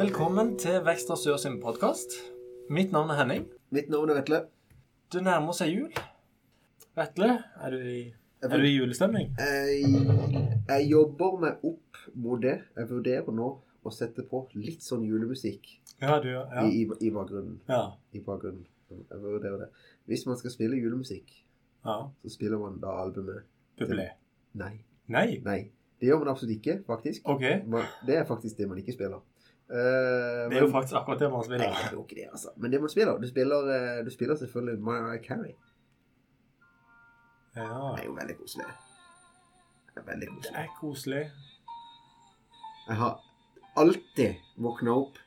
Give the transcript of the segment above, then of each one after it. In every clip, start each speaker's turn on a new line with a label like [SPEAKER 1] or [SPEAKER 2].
[SPEAKER 1] Velkommen til Vekstra Sør sin podkast. Mitt navn er Henning.
[SPEAKER 2] Mitt navn er Vetle.
[SPEAKER 1] Det nærmer seg jul. Vetle, er du i, er du i julestemning?
[SPEAKER 2] Jeg, jeg jobber meg opp mot det. Jeg vurderer nå å sette på litt sånn julemusikk
[SPEAKER 1] Ja, du ja.
[SPEAKER 2] i, i, i bakgrunnen.
[SPEAKER 1] Ja.
[SPEAKER 2] I bakgrunnen. Jeg vurderer det. Hvis man skal spille julemusikk,
[SPEAKER 1] ja.
[SPEAKER 2] så spiller man da albumet
[SPEAKER 1] Pupilé.
[SPEAKER 2] Nei.
[SPEAKER 1] Nei?
[SPEAKER 2] Nei. Det gjør man absolutt ikke, faktisk.
[SPEAKER 1] OK.
[SPEAKER 2] Man, det er faktisk det man ikke spiller. Eh,
[SPEAKER 1] Det er jo faktisk akkurat det man
[SPEAKER 2] Nei,
[SPEAKER 1] spiller.
[SPEAKER 2] det er jo ikke det, altså. Men det man spiller Du spiller, eh, du spiller selvfølgelig Mariah Carey.
[SPEAKER 1] Ja.
[SPEAKER 2] Det er jo veldig koselig. Det er veldig koselig.
[SPEAKER 1] Det er koselig.
[SPEAKER 2] Jeg har alltid våkna opp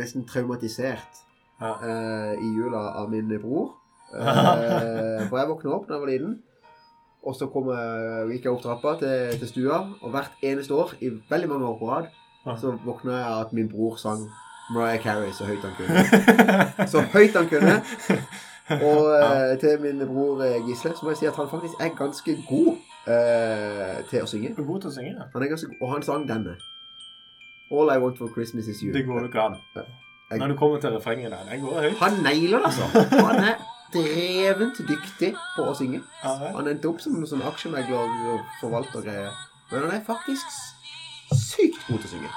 [SPEAKER 2] nesten traumatisert
[SPEAKER 1] Ja.
[SPEAKER 2] eh, i jula av min bror. Eh, for jeg våkna opp da jeg var liten, og så kom jeg, gikk jeg opp trappa til, til stua. Og hvert eneste år, i veldig mange år på rad, så våkna jeg av at min bror sang Mariah Carey så høyt han kunne. Så høyt han kunne. Og eh, til min bror eh, Gisle så må jeg si at han faktisk er ganske god eh, til å synge.
[SPEAKER 1] Du er god til å synge.
[SPEAKER 2] Han er ganske god, og han sang denne. All I want for Christmas is you.
[SPEAKER 1] Det går jo ikke an.
[SPEAKER 2] Jeg-
[SPEAKER 1] Når du kommer til refrenget der. Det går høyt.
[SPEAKER 2] Han nailer det, altså. Han er drevent dyktig på å synge.
[SPEAKER 1] Ja, vel.
[SPEAKER 2] Han endte opp som en sånn aksjemegler og forvaltergreie. Men han er faktisk sykt god til å synge.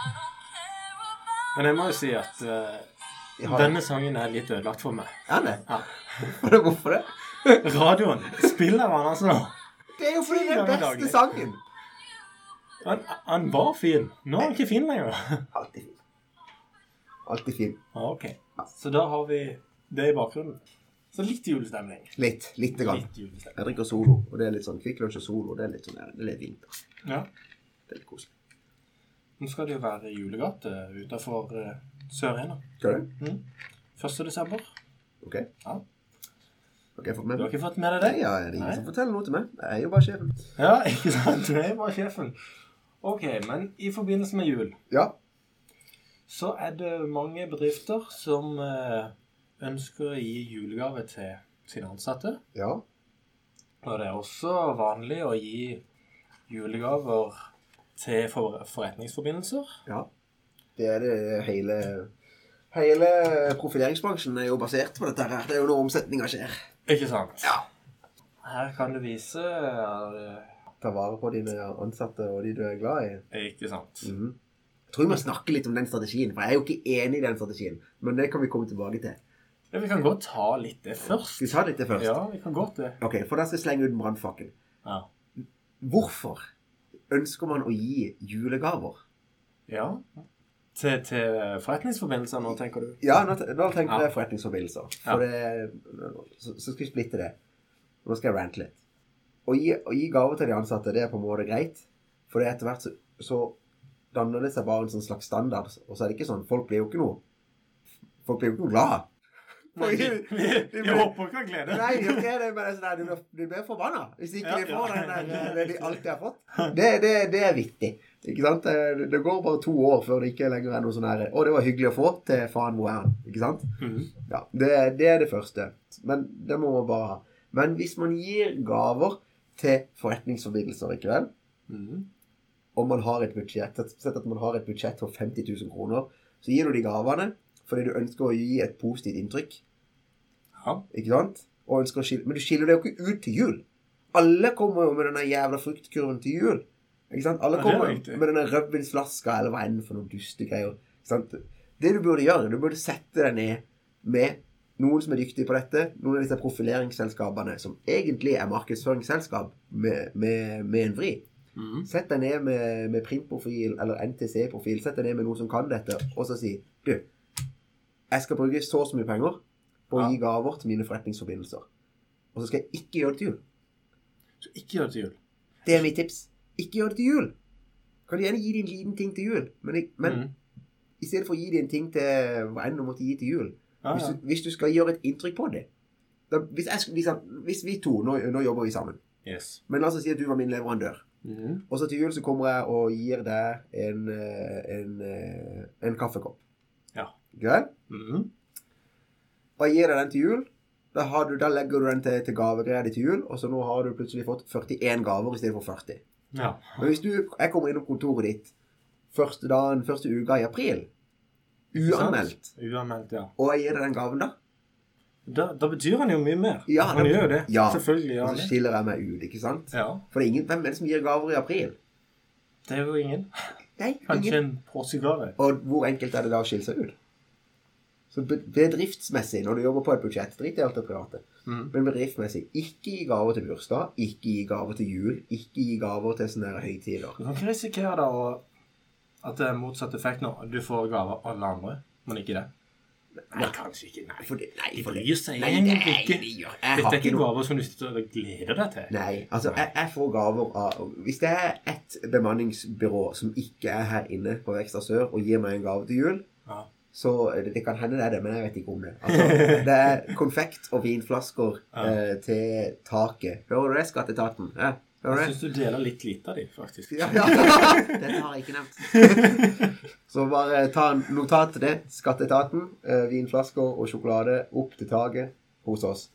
[SPEAKER 1] Men jeg må jo si at eh,
[SPEAKER 2] Jeg har-
[SPEAKER 1] denne sangen er litt ødelagt for meg.
[SPEAKER 2] Er det?
[SPEAKER 1] Ja.
[SPEAKER 2] Hvorfor det?
[SPEAKER 1] Radioen spiller han altså nå.
[SPEAKER 2] Det er jo fordi det er den beste sangen.
[SPEAKER 1] Han, han var fin. Nå er han ikke fin lenger.
[SPEAKER 2] Alltid fin. Alltid fin.
[SPEAKER 1] Ja, ok. Så da har vi det i bakgrunnen. Så litt julestemning.
[SPEAKER 2] Litt. Lite grann.
[SPEAKER 1] Litt julestemning.
[SPEAKER 2] Jeg drikker solo, og det er litt sånn Kvikk Lunsj og solo. Det er litt sånn der, det er litt vinter.
[SPEAKER 1] Ja.
[SPEAKER 2] Det er litt koselig.
[SPEAKER 1] Nå skal det jo være julegate utenfor eh, Sørena.
[SPEAKER 2] Skal du?
[SPEAKER 1] 1. desember.
[SPEAKER 2] OK.
[SPEAKER 1] Ja.
[SPEAKER 2] Ok, fått med
[SPEAKER 1] Du har
[SPEAKER 2] meg.
[SPEAKER 1] ikke fått med deg
[SPEAKER 2] Nei,
[SPEAKER 1] det?
[SPEAKER 2] ja, det er ingen
[SPEAKER 1] Nei.
[SPEAKER 2] som forteller noe til meg. Jeg er jo bare sjefen.
[SPEAKER 1] Ja, ikke sant? Det var sjefen. Ok, men i forbindelse med jul
[SPEAKER 2] Ja.
[SPEAKER 1] så er det mange bedrifter som eh, ønsker å gi julegave til sine ansatte.
[SPEAKER 2] Ja.
[SPEAKER 1] Og det er også vanlig å gi julegaver til for forretningsforbindelser.
[SPEAKER 2] Ja. Det er det hele Hele profileringsbransjen er jo basert på dette her. Det er jo når omsetninga skjer.
[SPEAKER 1] Ikke sant?
[SPEAKER 2] Ja.
[SPEAKER 1] Her kan du vise eh,
[SPEAKER 2] Ta vare på dine ansatte og de du er glad i.
[SPEAKER 1] Ikke sant?
[SPEAKER 2] Mhm. Jeg tror vi må snakke litt om den strategien, for jeg er jo ikke enig i den strategien. Men det kan vi komme tilbake til.
[SPEAKER 1] Ja, vi kan godt ta litt det først.
[SPEAKER 2] Skal vi ta litt det først?
[SPEAKER 1] Ja, vi kan godt det.
[SPEAKER 2] Ok, for da skal jeg slenge ut en brannfakkel.
[SPEAKER 1] Ja.
[SPEAKER 2] Hvorfor ønsker man å gi julegaver?
[SPEAKER 1] ja. Til, til forretningsforbindelser nå, tenker du?
[SPEAKER 2] Ja, nå, te- nå tenker
[SPEAKER 1] Ja.
[SPEAKER 2] jeg forretningsforbindelser. For det, så, så skal vi splitte det. Nå skal jeg rante litt. Å gi, å gi gaver til de ansatte, det er på en måte greit. For det er etter hvert så, så danner det seg bare en sånn slags standard. Og så er det ikke sånn Folk blir jo ikke noe Folk blir jo ikke noe glad.
[SPEAKER 1] Vi, vi, vi håper ikke å glede.
[SPEAKER 2] Nei, de gjør ikke det, men det er sånn der, du blir, du blir forbanna hvis ikke
[SPEAKER 1] Ja,
[SPEAKER 2] de får
[SPEAKER 1] ja.
[SPEAKER 2] den der, det de alltid har fått. Det, det, det er vittig. Ikke sant? Det, det går bare to år før det ikke lenger er noe sånn her Å, det var hyggelig å få til faen hvor er han? Ikke sant?
[SPEAKER 1] Mhm.
[SPEAKER 2] Ja, det, det er det første. Men det må man bare ha. Men hvis man gir gaver til forretningsforbindelser, ikke vel,
[SPEAKER 1] Mhm.
[SPEAKER 2] og man har et budsjett Sett at man har et budsjett for 50 000 kroner, så gir du de gavene fordi du ønsker å gi et positivt inntrykk.
[SPEAKER 1] Ja.
[SPEAKER 2] Ikke sant? Og ønsker å skille. Men du skiller deg jo ikke ut til jul. Alle kommer jo med denne jævla fruktkurven til jul. Ikke sant? Alle
[SPEAKER 1] Ja, det er
[SPEAKER 2] kommer
[SPEAKER 1] riktig.
[SPEAKER 2] med denne rødvinsflaska eller hva enn for noen dustegreier. Ikke sant? Det du burde gjøre, du burde sette deg ned med noen som er dyktige på dette, noen av disse profileringsselskapene som egentlig er markedsføringsselskap med, med, med en vri.
[SPEAKER 1] Mhm.
[SPEAKER 2] Sett deg ned med, med printprofil eller NTC-profil. Sett deg ned med noen som kan dette, og så si Du, jeg skal bruke så og så mye penger på å
[SPEAKER 1] Ja.
[SPEAKER 2] gi gaver til mine forretningsforbindelser. Og så skal jeg ikke gjøre det til jul.
[SPEAKER 1] Så ikke gjør det til jul.
[SPEAKER 2] Det er mitt tips. Ikke gjør det til jul. Kan du gjerne gi dem en liten ting til jul, men, ik- men
[SPEAKER 1] Mhm.
[SPEAKER 2] i stedet for å gi dem en ting til hva enn du måtte gi til jul
[SPEAKER 1] ja,
[SPEAKER 2] hvis,
[SPEAKER 1] Ah, ja.
[SPEAKER 2] du, hvis du skal gjøre et inntrykk på det da, hvis, jeg, sk- hvis, jeg, hvis vi to Nå, nå jobber vi sammen.
[SPEAKER 1] Yes.
[SPEAKER 2] Men la oss si at du var min leverandør.
[SPEAKER 1] Mhm.
[SPEAKER 2] Og så til jul så kommer jeg og gir deg en, eh, en, eh, en kaffekopp.
[SPEAKER 1] Ja.
[SPEAKER 2] Greit?
[SPEAKER 1] Mhm.
[SPEAKER 2] Og jeg gir deg den til jul. Da, har du, da legger du den til, til gavegreia di til jul, og så nå har du plutselig fått 41 gaver i stedet for 40.
[SPEAKER 1] Ja.
[SPEAKER 2] Men hvis du, jeg kommer innom kontoret ditt første dagen, første uka i april
[SPEAKER 1] Ikke sant?
[SPEAKER 2] Uanmeldt.
[SPEAKER 1] Uanmeldt, ja.
[SPEAKER 2] Og jeg gir deg den gaven, da.
[SPEAKER 1] Da, da betyr han jo mye mer.
[SPEAKER 2] Ja,
[SPEAKER 1] han
[SPEAKER 2] da-
[SPEAKER 1] gjør jo det.
[SPEAKER 2] ja.
[SPEAKER 1] Selvfølgelig gjør
[SPEAKER 2] Og
[SPEAKER 1] han
[SPEAKER 2] så
[SPEAKER 1] det.
[SPEAKER 2] skiller jeg meg ut, ikke sant?
[SPEAKER 1] Ja,
[SPEAKER 2] For det er ingen, hvem er det som gir gaver i april?
[SPEAKER 1] det er jo ingen.
[SPEAKER 2] Nei,
[SPEAKER 1] Kanskje
[SPEAKER 2] ingen.
[SPEAKER 1] en påsegave.
[SPEAKER 2] Og hvor enkelt er det da å skille seg ut? Så be- bedriftsmessig, når du jobber på et budsjett, drit i alt det private,
[SPEAKER 1] Mm.
[SPEAKER 2] men bedriftsmessig, ikke gi gaver til bursdag, ikke gi gaver til jul, ikke gi gaver til sånne her høytider.
[SPEAKER 1] Du kan ikke risikere da å, at det er motsatt effekt nå. Du får gaver av alle andre, men ikke det. Nei, kanskje ikke. Nei.
[SPEAKER 2] For det, nei,
[SPEAKER 1] De
[SPEAKER 2] for det.
[SPEAKER 1] bryr seg
[SPEAKER 2] Nei,
[SPEAKER 1] egentlig
[SPEAKER 2] nei,
[SPEAKER 1] ikke.
[SPEAKER 2] de gjør- jeg har
[SPEAKER 1] Dette er
[SPEAKER 2] ikke
[SPEAKER 1] ikke
[SPEAKER 2] noe-
[SPEAKER 1] gaver som du sitter og gleder deg til.
[SPEAKER 2] Nei, altså jeg, jeg får gaver av Hvis det er et bemanningsbyrå som ikke er her inne på Vekstra Sør og gir meg en gave til jul,
[SPEAKER 1] Ja.
[SPEAKER 2] så eh, det, det kan hende det er det, men jeg vet ikke om det. Altså, det er konfekt og vinflasker
[SPEAKER 1] Ja.
[SPEAKER 2] eh, til taket. Hører du det, Skatteetaten? Ja, hører
[SPEAKER 1] Jeg
[SPEAKER 2] du det?
[SPEAKER 1] syns du deler litt lite av de, faktisk.
[SPEAKER 2] Ja, ja. Dette har jeg ikke nevnt. Så bare ta en notat til det. Skatteetaten, eh, vinflasker og sjokolade opp til taket hos oss.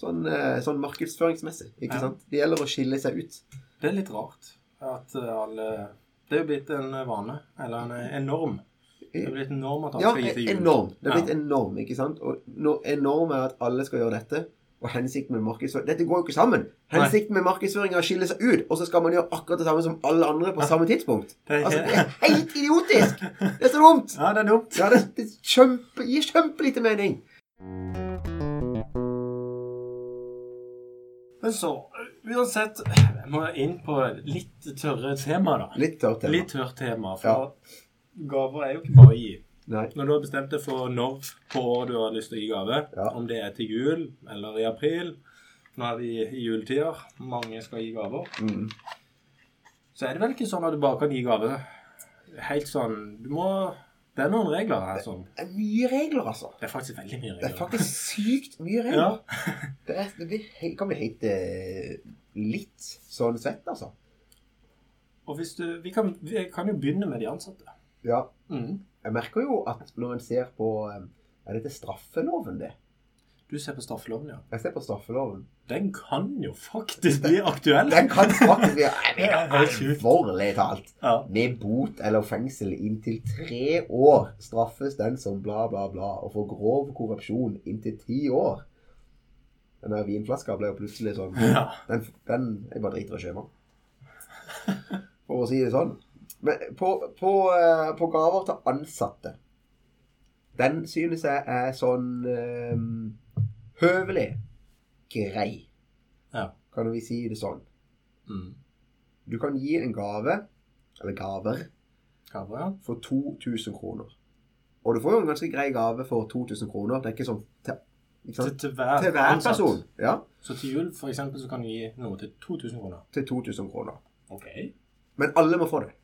[SPEAKER 2] Sånn, eh, sånn markedsføringsmessig, ikke
[SPEAKER 1] Ja.
[SPEAKER 2] sant? Det gjelder å skille seg ut.
[SPEAKER 1] Det er litt rart at eh, alle Det er jo blitt en vane, eller en, en norm. Det er blitt en norm at alle
[SPEAKER 2] Ja,
[SPEAKER 1] skal gi til jul.
[SPEAKER 2] enorm. Det er blitt
[SPEAKER 1] Ja.
[SPEAKER 2] enorm, ikke sant? Og nå- enorm er at alle skal gjøre dette. Og hensikten med markedsføring Dette går jo ikke sammen! Hensikten med markedsføring er å skille seg ut, og så skal man gjøre akkurat det samme som alle andre på samme tidspunkt.
[SPEAKER 1] Det er
[SPEAKER 2] Altså,
[SPEAKER 1] ikke-
[SPEAKER 2] det er helt idiotisk! Det er så dumt!
[SPEAKER 1] Ja, det er dumt.
[SPEAKER 2] Ja, det, det kjempe, gir kjempelite mening.
[SPEAKER 1] Men så, uansett Jeg må inn på litt tørre tema, da.
[SPEAKER 2] Litt tørt tema.
[SPEAKER 1] Litt tørt tema. For gaver er jo ikke bare å gi.
[SPEAKER 2] Nei.
[SPEAKER 1] Når du har bestemt deg for når på året du har lyst til å gi gave,
[SPEAKER 2] Ja.
[SPEAKER 1] om det er til jul eller i april Nå er vi i juletider, mange skal gi gaver.
[SPEAKER 2] Mm.
[SPEAKER 1] Så er det vel ikke sånn at du bare kan gi gave helt sånn Du må Det er noen regler her sånn.
[SPEAKER 2] Det er mye regler, altså.
[SPEAKER 1] Det er faktisk veldig mye
[SPEAKER 2] Det er
[SPEAKER 1] regler.
[SPEAKER 2] faktisk sykt
[SPEAKER 1] Ja.
[SPEAKER 2] mye regler. Det, er, det blir, he- kan bli helt eh, litt sånn svett, altså.
[SPEAKER 1] Og hvis du Vi kan, vi kan jo begynne med de ansatte.
[SPEAKER 2] Ja.
[SPEAKER 1] Mm.
[SPEAKER 2] Jeg merker jo at når en ser på eh, Er dette straffeloven, det?
[SPEAKER 1] Du ser på straffeloven, ja.
[SPEAKER 2] Jeg ser på straffeloven.
[SPEAKER 1] Den kan jo faktisk bli aktuell.
[SPEAKER 2] Den kan faktisk bli jeg
[SPEAKER 1] Det er
[SPEAKER 2] mener,
[SPEAKER 1] helt sjukt.
[SPEAKER 2] alvorlig talt.
[SPEAKER 1] Ja.
[SPEAKER 2] Med bot eller fengsel inntil tre år straffes den som bla, bla, bla, og for grov korrupsjon inntil ti år. Den der vinflaska ble jo plutselig sånn
[SPEAKER 1] ja.
[SPEAKER 2] Den, den jeg bare driter i å kjøpe. den. For å si det sånn. Men på, på, eh, på gaver til ansatte Den synes jeg er sånn eh, høvelig grei,
[SPEAKER 1] ja.
[SPEAKER 2] kan vi si det sånn.
[SPEAKER 1] Mm.
[SPEAKER 2] Du kan gi en gave, eller gaver,
[SPEAKER 1] Gaver, ja.
[SPEAKER 2] for 2000 kroner. Og du får jo en ganske grei gave for 2000 kroner. Det er ikke sånn til, ikke
[SPEAKER 1] Til,
[SPEAKER 2] sant?
[SPEAKER 1] til hver,
[SPEAKER 2] til hver
[SPEAKER 1] ansatt.
[SPEAKER 2] person. Ja,
[SPEAKER 1] Så til jul for eksempel, så kan du gi noe til 2000 kroner.
[SPEAKER 2] til 2000 kroner.
[SPEAKER 1] Ok.
[SPEAKER 2] Men alle må få det.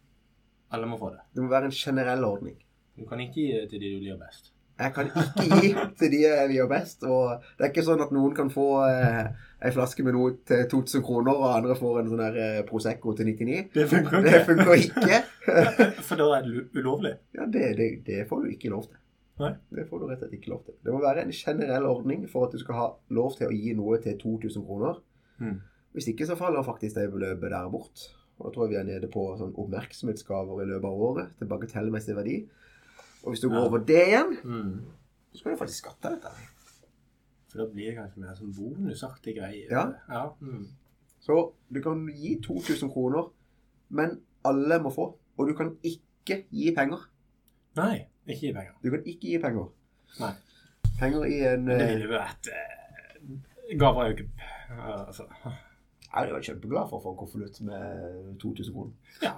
[SPEAKER 1] Alle må få det.
[SPEAKER 2] Det må være en generell ordning.
[SPEAKER 1] Du kan ikke gi det til de du liker best.
[SPEAKER 2] Jeg kan ikke gi til de jeg gjør best. Og det er ikke sånn at noen kan få eh, ei flaske med noe til 2000 kroner, og andre får en sånn der eh, Prosecco til 99.
[SPEAKER 1] Det funker
[SPEAKER 2] Det funker ikke.
[SPEAKER 1] For da er det u- ulovlig.
[SPEAKER 2] Ja, det, det, det får du ikke lov til.
[SPEAKER 1] Nei.
[SPEAKER 2] Det får du rett og slett ikke lov til. Det må være en generell ordning for at du skal ha lov til å gi noe til 2000 kroner.
[SPEAKER 1] Mm.
[SPEAKER 2] Hvis ikke så faller faktisk det beløpet der bort. Og da tror jeg vi er nede på sånn oppmerksomhetsgaver i løpet av året til bagatellmessig verdi. Og hvis du går
[SPEAKER 1] Ja.
[SPEAKER 2] over det igjen,
[SPEAKER 1] Mm.
[SPEAKER 2] så skal du faktisk skatte dette.
[SPEAKER 1] For da blir det kanskje mer sånn bonusaktig greie.
[SPEAKER 2] Ja.
[SPEAKER 1] ja. Mm.
[SPEAKER 2] Så du kan gi 2000 kroner, men alle må få. Og du kan ikke gi penger.
[SPEAKER 1] Nei, ikke gi penger.
[SPEAKER 2] Du kan ikke gi penger.
[SPEAKER 1] Nei.
[SPEAKER 2] Penger i en
[SPEAKER 1] Men det
[SPEAKER 2] eh,
[SPEAKER 1] ville jo vært eh, Gaver er jo ikke p- altså.
[SPEAKER 2] Jeg hadde vært kjempeglad for å få en konvolutt med 2000 kroner.
[SPEAKER 1] Ja,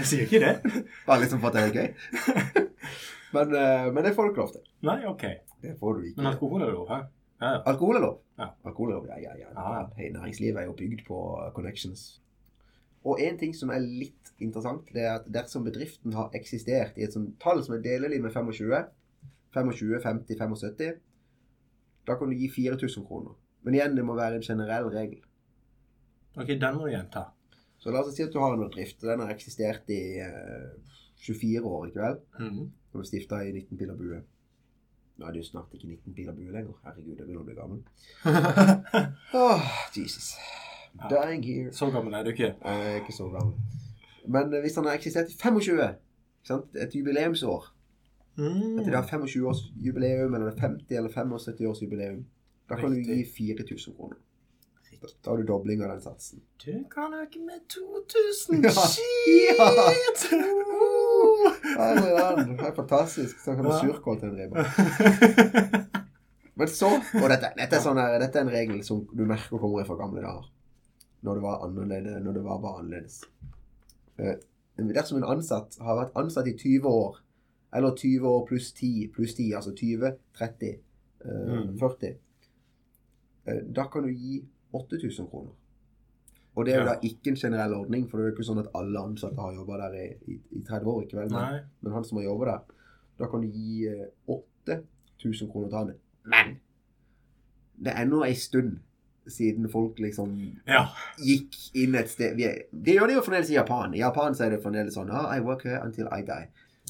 [SPEAKER 1] jeg sier ikke det.
[SPEAKER 2] Bare liksom for at det er gøy. men, eh, men det får du ikke lov til.
[SPEAKER 1] Nei, OK.
[SPEAKER 2] Det får du
[SPEAKER 1] Men
[SPEAKER 2] ikke.
[SPEAKER 1] alkohol er lov, hæ? Ja, ja.
[SPEAKER 2] Alkohol er lov.
[SPEAKER 1] Ja.
[SPEAKER 2] Alkohol er lov, ja, ja, ja.
[SPEAKER 1] Ja.
[SPEAKER 2] Hei, næringslivet er jo bygd på eh, connections. Og en ting som er litt interessant, det er at dersom bedriften har eksistert i et sånt tall som er delelig med 25, 25, 50, 75, da kan du gi 4000 kroner. Men igjen, det må være en generell regel.
[SPEAKER 1] OK, den må du gjenta.
[SPEAKER 2] Så la oss si at du har en bedrift, og den har eksistert i eh, 24 år, ikke vel?
[SPEAKER 1] Mm.
[SPEAKER 2] Den ble stifta i 19 pil og bue. Nå er det jo snart ikke 19 pil og bue lenger. Herregud, jeg begynner å bli gammel. Åh, Jesus. Dying here.
[SPEAKER 1] Så gammel er du ikke.
[SPEAKER 2] Jeg er ikke så gammel. Men eh, hvis han har eksistert i 25, ikke sant? et jubileumsår,
[SPEAKER 1] Mm.
[SPEAKER 2] Etter det har 25-årsjubileum eller 50- eller 75-årsjubileum. Da kan du gi 4000 kroner. Da- Da har du dobling av den satsen.
[SPEAKER 1] Du kan øke med 2000!
[SPEAKER 2] Ja.
[SPEAKER 1] Shit!
[SPEAKER 2] Ja, det er den. Det er fantastisk. Så kan du
[SPEAKER 1] Ja.
[SPEAKER 2] surkål til en ribbe.
[SPEAKER 1] Uh.
[SPEAKER 2] Men så Og dette, dette, er sånn her, dette er en regel som du merker kommer fra gamle dager. Når det var annerledes. Når det var bare annerledes. Eh, Dersom en ansatt har vært ansatt i 20 år, eller 20 år pluss 10 pluss 10, altså 20, 30, eh,
[SPEAKER 1] Mm.
[SPEAKER 2] 40 eh, Da kan du gi 8000 kroner. Og det er jo
[SPEAKER 1] Ja.
[SPEAKER 2] da ikke en generell ordning, for det er jo ikke sånn at alle ansatte har jobba der i, i, i 30 år. ikke vel? Men,
[SPEAKER 1] Nei.
[SPEAKER 2] men han som har jobba der, da kan du gi eh, 8000 kroner til han. Men det er nå ei stund siden folk liksom
[SPEAKER 1] Ja.
[SPEAKER 2] gikk inn et sted Vi er- Det gjør de jo fremdeles i Japan. I Japan så er det fremdeles sånn ah, I work here until I die.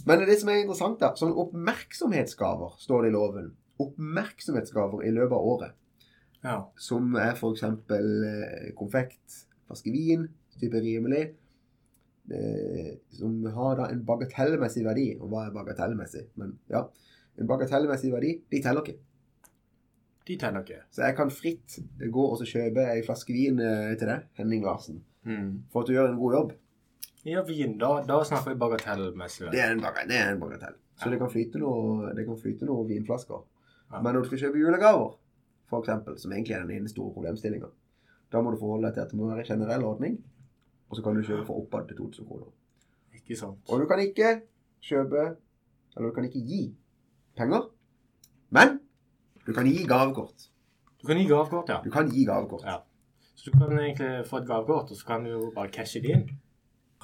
[SPEAKER 2] Men det som er interessant, da Sånn oppmerksomhetsgaver står det i loven. Oppmerksomhetsgaver i løpet av året.
[SPEAKER 1] ja.
[SPEAKER 2] Som er f.eks. konfekt, flaske vin, type rimelig. Eh, som har da en bagatellmessig verdi. Og hva er bagatellmessig? Men ja, en bagatellmessig verdi, de teller ikke.
[SPEAKER 1] De teller ikke.
[SPEAKER 2] Så jeg kan fritt gå og så kjøpe ei flaske vin eh, til deg, Henning Larsen,
[SPEAKER 1] Mm.
[SPEAKER 2] for at du gjør en god jobb.
[SPEAKER 1] Ja, vin. Da, da snakker vi bagatellmessig.
[SPEAKER 2] Det er en, baga det er en bagatell. Så det kan flyte noe, det kan flyte noe vinflasker.
[SPEAKER 1] Ja.
[SPEAKER 2] Men når du skal kjøpe julegaver, for eksempel, som egentlig er den ene store problemstillinga, da må du forholde deg til at det må være en generell ordning, og så kan du kjøpe for oppad til 2000 kroner.
[SPEAKER 1] Ikke sant?
[SPEAKER 2] Og du kan ikke kjøpe Eller du kan ikke gi penger, men du kan gi gavekort.
[SPEAKER 1] Du kan gi gavekort, ja.
[SPEAKER 2] Du kan gi gavekort.
[SPEAKER 1] ja. Så du kan egentlig få et gavekort, og så kan du jo bare cashe det inn.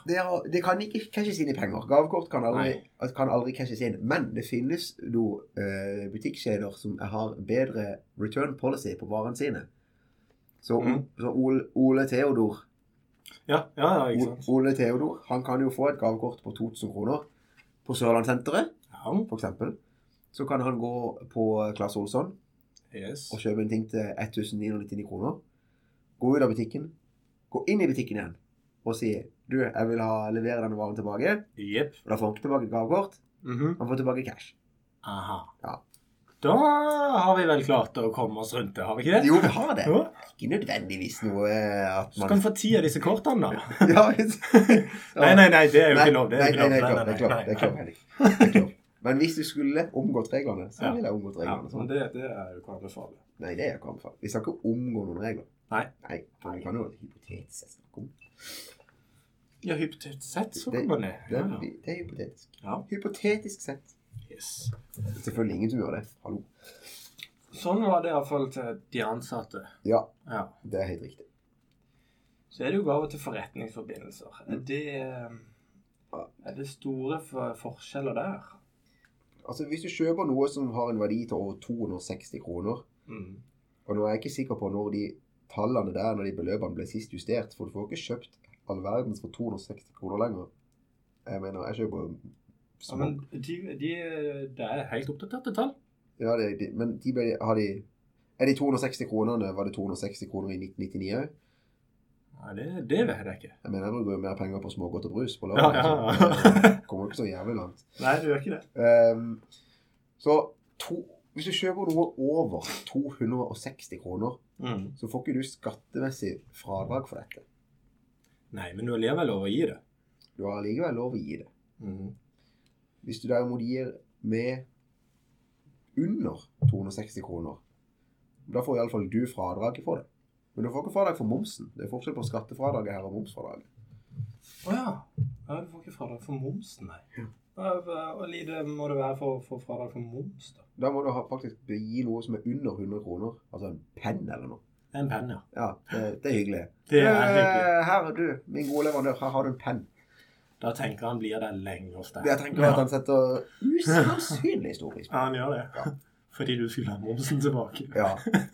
[SPEAKER 2] Det, er, det kan ikke cashes inn i penger. Gavekort kan aldri,
[SPEAKER 1] Nei.
[SPEAKER 2] at- kan aldri cashes inn. Men det finnes jo eh, butikkjeder som har bedre return policy på varene sine. Så,
[SPEAKER 1] Mhm.
[SPEAKER 2] så Ole, Ole Theodor
[SPEAKER 1] Ja, ja, ja ikke
[SPEAKER 2] Ole,
[SPEAKER 1] sant?
[SPEAKER 2] Ole Theodor han kan jo få et gavekort på 2000 kroner på Sørlandssenteret,
[SPEAKER 1] Ja,
[SPEAKER 2] f.eks. Så kan han gå på Klasse Olsson
[SPEAKER 1] yes.
[SPEAKER 2] og kjøpe en ting til 1999 kroner. Gå ut av butikken, gå inn i butikken igjen og si du, jeg vil ha, levere denne varen tilbake.
[SPEAKER 1] Jepp.
[SPEAKER 2] Og da får han ikke tilbake et gavekort,
[SPEAKER 1] Mhm.
[SPEAKER 2] han får tilbake cash.
[SPEAKER 1] Aha.
[SPEAKER 2] Ja.
[SPEAKER 1] Da har vi vel klart å komme oss rundt det, har vi ikke det?
[SPEAKER 2] Jo, vi har det.
[SPEAKER 1] Ja.
[SPEAKER 2] Ikke nødvendigvis noe eh, at
[SPEAKER 1] Så kan
[SPEAKER 2] man
[SPEAKER 1] du få ti av disse kortene, da.
[SPEAKER 2] ja, hvis...
[SPEAKER 1] Nei, nei, nei, det er jo ikke lov. Det er
[SPEAKER 2] Nei,
[SPEAKER 1] jo
[SPEAKER 2] nei, nei,
[SPEAKER 1] ikke lov.
[SPEAKER 2] det er klart, det er klart,
[SPEAKER 1] nei, nei.
[SPEAKER 2] det er klart, det er klart. Men hvis du skulle omgått reglene, så
[SPEAKER 1] Ja.
[SPEAKER 2] ville jeg omgått
[SPEAKER 1] Ja,
[SPEAKER 2] reglene.
[SPEAKER 1] men
[SPEAKER 2] sånn.
[SPEAKER 1] det, det er jo hva jeg anbefaler.
[SPEAKER 2] Nei, det er jeg ikke anbefalt. Vi skal ikke omgå noen regler.
[SPEAKER 1] Nei.
[SPEAKER 2] Nei, for vi kan jo hypotetisk sett snakke om det.
[SPEAKER 1] Ja, hypotetisk sett så
[SPEAKER 2] Det-
[SPEAKER 1] kan man det.
[SPEAKER 2] Det
[SPEAKER 1] Ja,
[SPEAKER 2] er, det er hypotetisk.
[SPEAKER 1] ja.
[SPEAKER 2] Hypotetisk sett.
[SPEAKER 1] Yes.
[SPEAKER 2] Det er Selvfølgelig ingen som gjør det. Hallo.
[SPEAKER 1] Sånn var det iallfall til de ansatte.
[SPEAKER 2] Ja,
[SPEAKER 1] Ja.
[SPEAKER 2] det er helt riktig.
[SPEAKER 1] Så er det jo gaver til forretningsforbindelser.
[SPEAKER 2] Mm.
[SPEAKER 1] Er det, eh, er det store for forskjeller der?
[SPEAKER 2] Altså, hvis du kjøper noe som har en verdi til over 260 kroner,
[SPEAKER 1] Mm.
[SPEAKER 2] og nå er jeg ikke sikker på når de tallene der, når de beløpene ble sist justert, for du får ikke kjøpt all verdens for 260 kroner lenger. Jeg mener, jeg kjøper
[SPEAKER 1] Ja,
[SPEAKER 2] små.
[SPEAKER 1] men de, de, det er helt oppdaterte tall.
[SPEAKER 2] Ja, det, de, men de ble, har de... Er de 260 kronene, var det 260 kroner i 1999 også?
[SPEAKER 1] Nei, det, det vet jeg ikke.
[SPEAKER 2] Jeg mener, jeg bruker jo mer penger på smågodt og brus på
[SPEAKER 1] Ja,
[SPEAKER 2] lørdag.
[SPEAKER 1] ja,
[SPEAKER 2] så
[SPEAKER 1] ja.
[SPEAKER 2] jeg Kommer jo ikke så jævlig langt.
[SPEAKER 1] Nei, det gjør ikke det.
[SPEAKER 2] Ehm, så to, hvis du kjøper noe over 260 kroner,
[SPEAKER 1] Mm.
[SPEAKER 2] så får ikke du skattemessig fradrag for dette.
[SPEAKER 1] Nei, men du er likevel lov å gi det.
[SPEAKER 2] Du har allikevel lov å gi det.
[SPEAKER 1] Mm.
[SPEAKER 2] Hvis du derimot gir med under 260 kroner, da får iallfall du fradraget for det. Men du får ikke fradrag for momsen. Det er forskjell på skattefradraget her og momsfradraget.
[SPEAKER 1] Å ja. ja. Du får ikke fradrag for momsen, nei. Hvor lite må det være for å få fradrag for moms, da?
[SPEAKER 2] Da må du ha, faktisk gi noe som er under 100 kroner, altså en penn eller noe.
[SPEAKER 1] En penn, ja.
[SPEAKER 2] Ja, det, det er hyggelig.
[SPEAKER 1] Det er hyggelig.
[SPEAKER 2] Eh, Her er du, min gode leverandør. Her har du en penn.
[SPEAKER 1] Da tenker han blir der lenge hos deg.
[SPEAKER 2] Jeg tenker at han setter usannsynlig stor pris på
[SPEAKER 1] Ja, han gjør det.
[SPEAKER 2] Ja.
[SPEAKER 1] Fordi du skulle ha momsen tilbake.
[SPEAKER 2] det. Ja.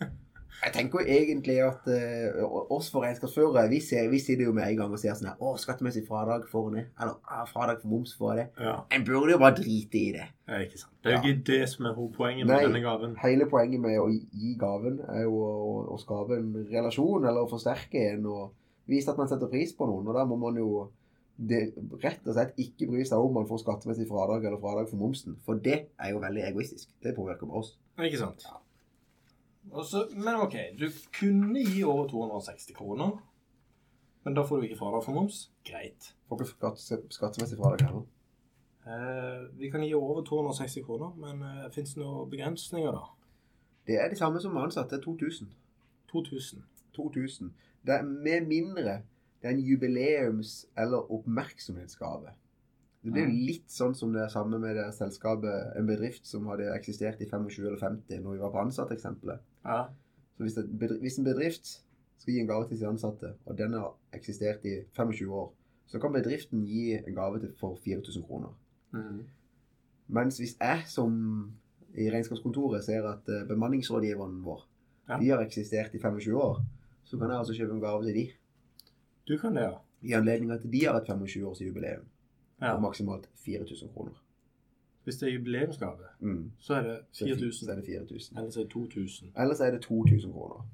[SPEAKER 2] Jeg tenker jo egentlig at eh, oss for regnskapsførere, vi, ser- vi sitter jo med en gang og sier sånn her Å, skattemessig fradrag for det. Eller «Ah, fradrag for moms for det.
[SPEAKER 1] Ja,
[SPEAKER 2] En burde jo bare drite i det.
[SPEAKER 1] det er ikke sant. Det er jo
[SPEAKER 2] Ja.
[SPEAKER 1] ikke det som er hovedpoenget med
[SPEAKER 2] Nei.
[SPEAKER 1] denne gaven.
[SPEAKER 2] Hele poenget med å gi gaven er jo å, å skape en relasjon, eller å forsterke en, og vise at man setter pris på noen. Og da må man jo det, rett og slett ikke bry seg om man får skattemessig fradrag eller fradrag for momsen. For det er jo veldig egoistisk. Det påvirker bare oss.
[SPEAKER 1] Ikke sant? Og så- men ok, du kunne gi over 260 kroner, men da får du ikke fradrag for moms. Greit.
[SPEAKER 2] Får ikke skatt, skattemessig fradrag heller.
[SPEAKER 1] Eh, vi kan gi over 260 kroner, men eh, fins det noen begrensninger, da?
[SPEAKER 2] Det er det samme som med ansatte. Det er 2000.
[SPEAKER 1] 2000.
[SPEAKER 2] 2000. Det er med mindre det er en jubileums- eller oppmerksomhetsgave. Det blir jo litt sånn som det er samme med det selskapet, en bedrift som hadde eksistert i 25 eller 50 når vi var på ansatteksempelet.
[SPEAKER 1] Ja.
[SPEAKER 2] Så hvis, et bedri- hvis en bedrift skal gi en gave til sine ansatte, og den har eksistert i 25 år, så kan bedriften gi en gave til for 4000 kroner. Mm. Mens hvis jeg som i regnskapskontoret ser at eh, bemanningsrådgiveren vår
[SPEAKER 1] Ja.
[SPEAKER 2] de har eksistert i 25 år, så kan jeg altså kjøpe en gave til de.
[SPEAKER 1] Du kan det, ja.
[SPEAKER 2] I anledning at de har et 25-årsjubileum på
[SPEAKER 1] ja.
[SPEAKER 2] maksimalt 4000 kroner.
[SPEAKER 1] Hvis det er jubileumsgave,
[SPEAKER 2] Mm.
[SPEAKER 1] så er det
[SPEAKER 2] Så er det fi- Så
[SPEAKER 1] 4000.
[SPEAKER 2] er det 4000.
[SPEAKER 1] Eller så er det 2000.
[SPEAKER 2] Ellers er det 2000 kroner.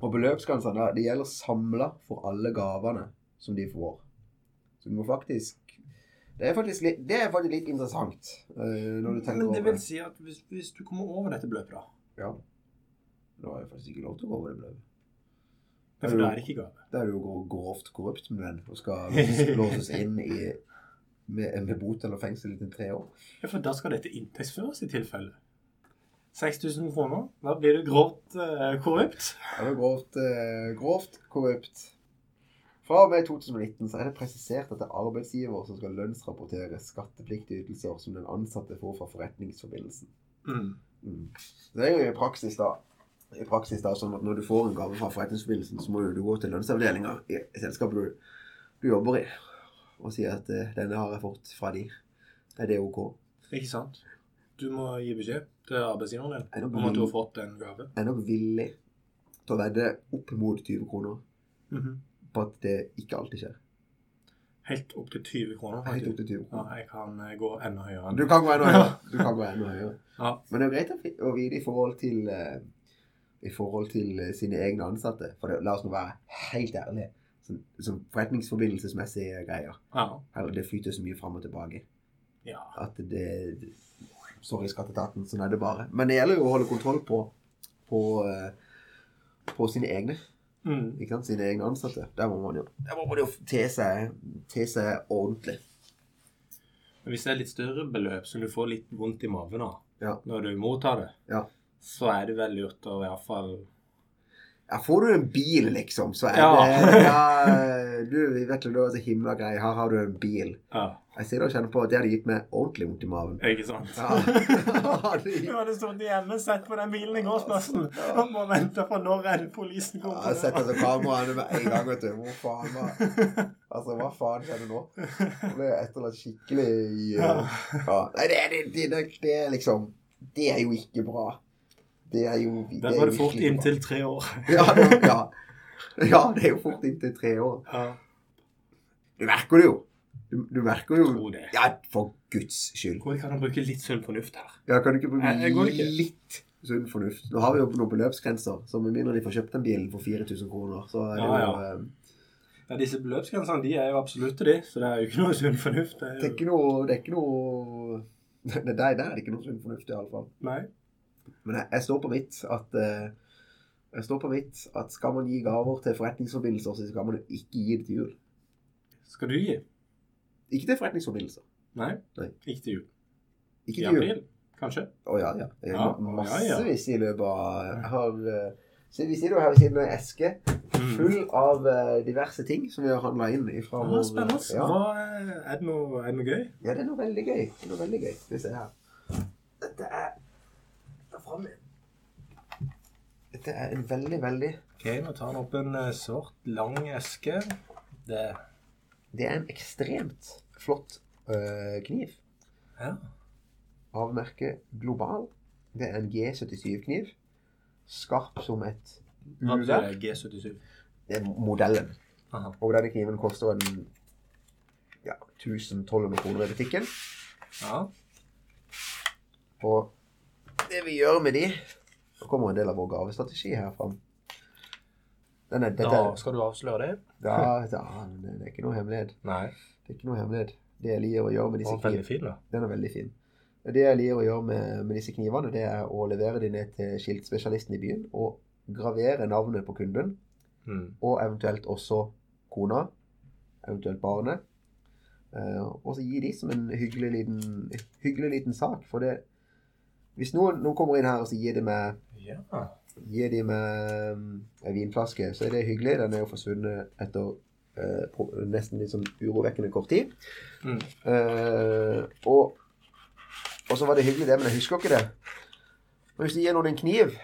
[SPEAKER 2] Og beløpsgrensene da, det gjelder samla for alle gavene som de får. Så du må faktisk Det er faktisk litt, det er faktisk litt interessant eh, når du tenker
[SPEAKER 1] Men det
[SPEAKER 2] over
[SPEAKER 1] vil
[SPEAKER 2] det.
[SPEAKER 1] si at hvis, hvis du kommer over dette beløpet, da
[SPEAKER 2] Ja. Nå har jeg faktisk ikke lov til å gå over det beløpet.
[SPEAKER 1] Nei, For da er det ikke gave.
[SPEAKER 2] Da er du jo gro- grovt korrupt med den og skal låses inn i, med, med bot eller fengsel i tre år.
[SPEAKER 1] Ja, For da skal dette inntektsføres i tilfelle. 6000 kroner. Da blir du grovt eh, korrupt.
[SPEAKER 2] Ja, det er grovt, eh, grovt korrupt. Fra og med 2019 så er det presisert at det er arbeidsgiver som skal lønnsrapportere skattepliktige ytelser som den ansatte får fra forretningsforbindelsen.
[SPEAKER 1] Mm.
[SPEAKER 2] Mm. Så Det er jo i praksis da i praksis da, sånn at når du får en gave fra forretningsforbindelsen, så må jo du gå til lønnsavdelinga i selskapet du, du jobber i, og si at eh, 'denne har jeg fått fra de'. Er det ok?
[SPEAKER 1] Ikke sant? Du må gi beskjed til arbeidsgiveren
[SPEAKER 2] Er
[SPEAKER 1] din
[SPEAKER 2] det
[SPEAKER 1] om at du har
[SPEAKER 2] villig-
[SPEAKER 1] fått en gave.
[SPEAKER 2] jeg er nok villig til å vedde opp mot 20 kroner Mhm. på at det ikke alltid skjer.
[SPEAKER 1] Helt opp til 20 kroner.
[SPEAKER 2] Helt
[SPEAKER 1] faktisk.
[SPEAKER 2] opp til 20 kroner.
[SPEAKER 1] Ja, jeg kan eh, gå enda høyere enn
[SPEAKER 2] Du kan gå enda høyere. Du kan gå enda høyere.
[SPEAKER 1] Ja.
[SPEAKER 2] Men det er jo greit å fi- å vite i forhold til eh, i forhold til eh, sine egne ansatte. For det, la oss nå være helt ærlige. Sånn, sånn forretningsforbindelsesmessige greier.
[SPEAKER 1] Ja.
[SPEAKER 2] Eller det flyter så mye fram og tilbake
[SPEAKER 1] ja.
[SPEAKER 2] at det Sorry, skatteetaten. Sånn er det bare. Men det gjelder jo å holde kontroll på på, eh, på sine egne.
[SPEAKER 1] Mm.
[SPEAKER 2] Ikke sant? Sine egne ansatte. Der må man jo, der må man jo te, seg, te seg ordentlig.
[SPEAKER 1] Men hvis det er litt større beløp som du får litt vondt i maven av
[SPEAKER 2] Ja.
[SPEAKER 1] når du mottar det,
[SPEAKER 2] Ja.
[SPEAKER 1] så er det vel lurt å iallfall
[SPEAKER 2] Ja, får du en bil, liksom, så er
[SPEAKER 1] Ja.
[SPEAKER 2] det ja, Du, vi vet jo da, så himla grei, her har du en bil.
[SPEAKER 1] Ja,
[SPEAKER 2] Jeg sitter og kjenner på at det hadde gitt meg ordentlig vondt i magen.
[SPEAKER 1] ikke sant?
[SPEAKER 2] Ja. Hadde
[SPEAKER 1] Du
[SPEAKER 2] gitt-
[SPEAKER 1] hadde stått hjemme og sett på den bilen i gårdsplassen og må vente på når er det polisen
[SPEAKER 2] Ja, Jeg setter altså kameraene med en gang, vet du. Hvor faen var Altså, hva faen skjedde nå? Jeg ble etterlatt skikkelig i, eh, ja. Nei, det, det, det, det, det er liksom Det er jo ikke bra. Det er jo det
[SPEAKER 1] Der
[SPEAKER 2] er
[SPEAKER 1] var det fort
[SPEAKER 2] virkelig ikke
[SPEAKER 1] inntil tre år.
[SPEAKER 2] bra. ja, det, ja. ja, det er jo fort inntil tre år.
[SPEAKER 1] Ja.
[SPEAKER 2] Du merker det jo. Du, du merker jo
[SPEAKER 1] Tror det.
[SPEAKER 2] Ja, for guds skyld.
[SPEAKER 1] Går det ikke an å bruke litt sunn fornuft her?
[SPEAKER 2] Ja, kan du ikke
[SPEAKER 1] Nei, det
[SPEAKER 2] bruke
[SPEAKER 1] går ikke.
[SPEAKER 2] litt sunn fornuft? Nå har vi jo noen beløpsgrenser, så med mindre de får kjøpt den bilen for 4000 kroner, så er det
[SPEAKER 1] Ja,
[SPEAKER 2] jo
[SPEAKER 1] ja.
[SPEAKER 2] eh,
[SPEAKER 1] Ja, Disse beløpsgrensene de er jo absolutte, de, så det er jo ikke noe sunn fornuft. Det
[SPEAKER 2] Det er
[SPEAKER 1] er jo...
[SPEAKER 2] ikke noe Det er ikke noe det der, der er det ikke noe sunn fornuft, i alle fall.
[SPEAKER 1] Nei.
[SPEAKER 2] Men jeg, jeg står på mitt at eh, jeg står på mitt at skal man gi gaver til forretningsforbindelser, så skal man jo ikke gi det til jul.
[SPEAKER 1] Skal du gi?
[SPEAKER 2] Ikke til forretningsforbindelser.
[SPEAKER 1] Nei.
[SPEAKER 2] Nei.
[SPEAKER 1] Ikke til jul.
[SPEAKER 2] Ikke
[SPEAKER 1] I
[SPEAKER 2] til jul.
[SPEAKER 1] april, kanskje?
[SPEAKER 2] Å ja, ja. Jeg
[SPEAKER 1] Ja,
[SPEAKER 2] har
[SPEAKER 1] å, ja, ja.
[SPEAKER 2] massevis i løpet av jeg har, eh, så Vi sitter jo her ved siden av en eske
[SPEAKER 1] Mm.
[SPEAKER 2] full av eh, diverse ting som vi har handla inn ifra
[SPEAKER 1] Ja,
[SPEAKER 2] vår-
[SPEAKER 1] spennende.
[SPEAKER 2] Ja.
[SPEAKER 1] Hva, eh, er, det noe, er det noe gøy?
[SPEAKER 2] ja, det er noe veldig gøy. Det er noe veldig gøy. Skal vi se her. Dette er Ta fram igjen. Dette er en veldig, veldig
[SPEAKER 1] Ok, nå tar han opp en eh, svart, lang eske. Det
[SPEAKER 2] Det er en ekstremt flott eh, kniv
[SPEAKER 1] Ja.
[SPEAKER 2] av merket Global. Det er en G77-kniv. Skarp som et
[SPEAKER 1] Hva betyr
[SPEAKER 2] uvær.
[SPEAKER 1] det? Mm. Eh, G77?
[SPEAKER 2] Det er modellen.
[SPEAKER 1] Aha.
[SPEAKER 2] Og denne kniven koster en ja, 1000-1200 kroner i butikken.
[SPEAKER 1] Ja.
[SPEAKER 2] Og det vi gjør med de Nå kommer en del av vår gavestrategi her fram. Nei, nei, dette,
[SPEAKER 1] Da skal du avsløre det.
[SPEAKER 2] da, da, det er ikke noe hemmelighet.
[SPEAKER 1] Nei.
[SPEAKER 2] Det er ikke noe hemmelighet. Det jeg liker å gjøre
[SPEAKER 1] Den
[SPEAKER 2] med disse
[SPEAKER 1] var veldig fin, da.
[SPEAKER 2] Den er veldig fin. Det jeg liker å gjøre med, med disse knivene, det er å levere de ned til skiltspesialisten i byen og gravere navnet på kunden,
[SPEAKER 1] Mm.
[SPEAKER 2] og eventuelt også kona, eventuelt barnet. Eh, og så gi de som en hyggelig liten, hyggelig liten sak. For det Hvis noen, noen kommer inn her og så gir de meg,
[SPEAKER 1] Ja.
[SPEAKER 2] gir de meg mm, en vinflaske, så er det hyggelig. Den er jo forsvunnet etter eh, pro- nesten litt sånn urovekkende kort tid.
[SPEAKER 1] Mm.
[SPEAKER 2] Eh, og, og så var det hyggelig det, men jeg husker ikke det. Men hvis du gir noen en kniv,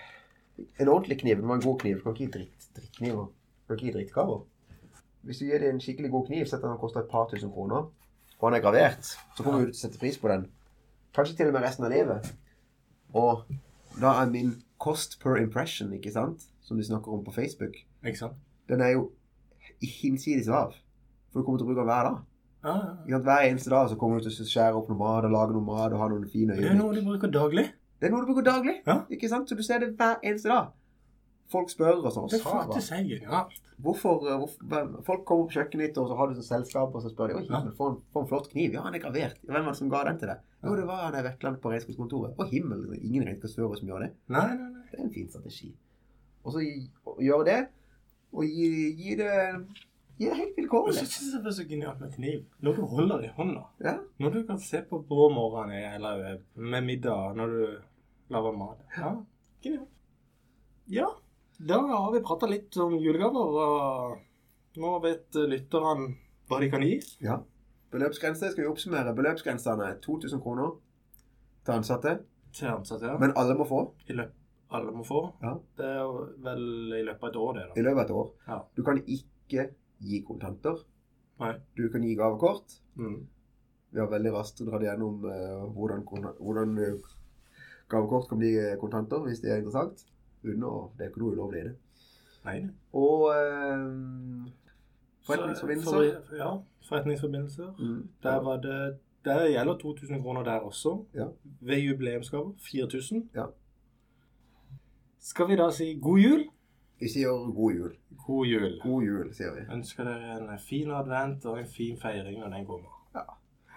[SPEAKER 2] en ordentlig kniv, det var en god kniv, du kan ikke gi dritt, drittkniver, du kan ikke gi drittgaver. Hvis du gir dem en skikkelig god kniv, sett at den koster et par tusen kroner, og den er gravert, så kommer du til å sette pris på den. Kanskje til og med resten av livet. Og da er min cost per impression, ikke sant, som de snakker om på Facebook,
[SPEAKER 1] Ikke sant?
[SPEAKER 2] den er jo hinsides lav. For du kommer til å bruke den hver dag.
[SPEAKER 1] Ja, ja.
[SPEAKER 2] Ikke sant? Hver eneste dag så kommer du til å skjære opp noe mat og lage noe mat og ha noen fine
[SPEAKER 1] Det er
[SPEAKER 2] øyeblikk.
[SPEAKER 1] noe du bruker daglig.
[SPEAKER 2] Det er noe du bruker daglig.
[SPEAKER 1] Ja.
[SPEAKER 2] Ikke sant? Så du ser det hver eneste dag. Folk spør og sånn.
[SPEAKER 1] Det er
[SPEAKER 2] «Sara,
[SPEAKER 1] faktisk helt genialt.
[SPEAKER 2] Hvorfor, eh, hvorfor, hvem- folk kommer på kjøkkenet ditt, og så har du sånn selskap, og så spør de Oi,
[SPEAKER 1] Ja.
[SPEAKER 2] himmel, for en, for en flott kniv. Ja, han er gravert. Hvem var det som ga den til deg? Jo, det var han der Vekland på regnskapskontoret. Å himmel, det er ingen regnskapsfører som gjør det.
[SPEAKER 1] Nei, nei, nei.
[SPEAKER 2] Det er en fin strategi. Og så gi- og gjøre det, og gi, gi det Gi det helt
[SPEAKER 1] Og så
[SPEAKER 2] vilkårlig.
[SPEAKER 1] synes jeg det er så genialt med kniv. Når du holder i hånda.
[SPEAKER 2] Ja.
[SPEAKER 1] Når du kan se på på morgenen eller eh, med middag når du lager mat. Ja, genialt. Ja, da har vi pratet litt om julegaver, og nå vet lytteren hva de kan gi.
[SPEAKER 2] Ja. Beløpsgrense skal vi oppsummere. Beløpsgrensene er 2000 kroner til ansatte.
[SPEAKER 1] Til ansatte, ja.
[SPEAKER 2] Men alle må få
[SPEAKER 1] I løpet alle må få.
[SPEAKER 2] Ja.
[SPEAKER 1] Det er jo vel i løpet av et år,
[SPEAKER 2] i
[SPEAKER 1] det, da.
[SPEAKER 2] løpet av et år.
[SPEAKER 1] Ja.
[SPEAKER 2] Du kan ikke gi kontanter.
[SPEAKER 1] Nei.
[SPEAKER 2] Du kan gi gavekort.
[SPEAKER 1] Mm.
[SPEAKER 2] Vi har veldig raskt dratt gjennom eh, hvordan, kon- hvordan eh, gavekort kan bli eh, kontanter, hvis det er interessant. Uten å Det er ikke noe ulovlig i det.
[SPEAKER 1] Nei. det.
[SPEAKER 2] Og eh,
[SPEAKER 1] Så-
[SPEAKER 2] forretningsforbindelser.
[SPEAKER 1] for- Ja, forretningsforbindelser.
[SPEAKER 2] Mm.
[SPEAKER 1] Der var det Der gjelder 2000 kroner der også.
[SPEAKER 2] Ja.
[SPEAKER 1] Ved jubileumsgave 4000.
[SPEAKER 2] Ja.
[SPEAKER 1] Skal vi da si god jul?
[SPEAKER 2] Vi sier god jul.
[SPEAKER 1] God jul.
[SPEAKER 2] God jul, sier vi.
[SPEAKER 1] Ønsker dere en fin advent og en fin feiring når den kommer.
[SPEAKER 2] Ja.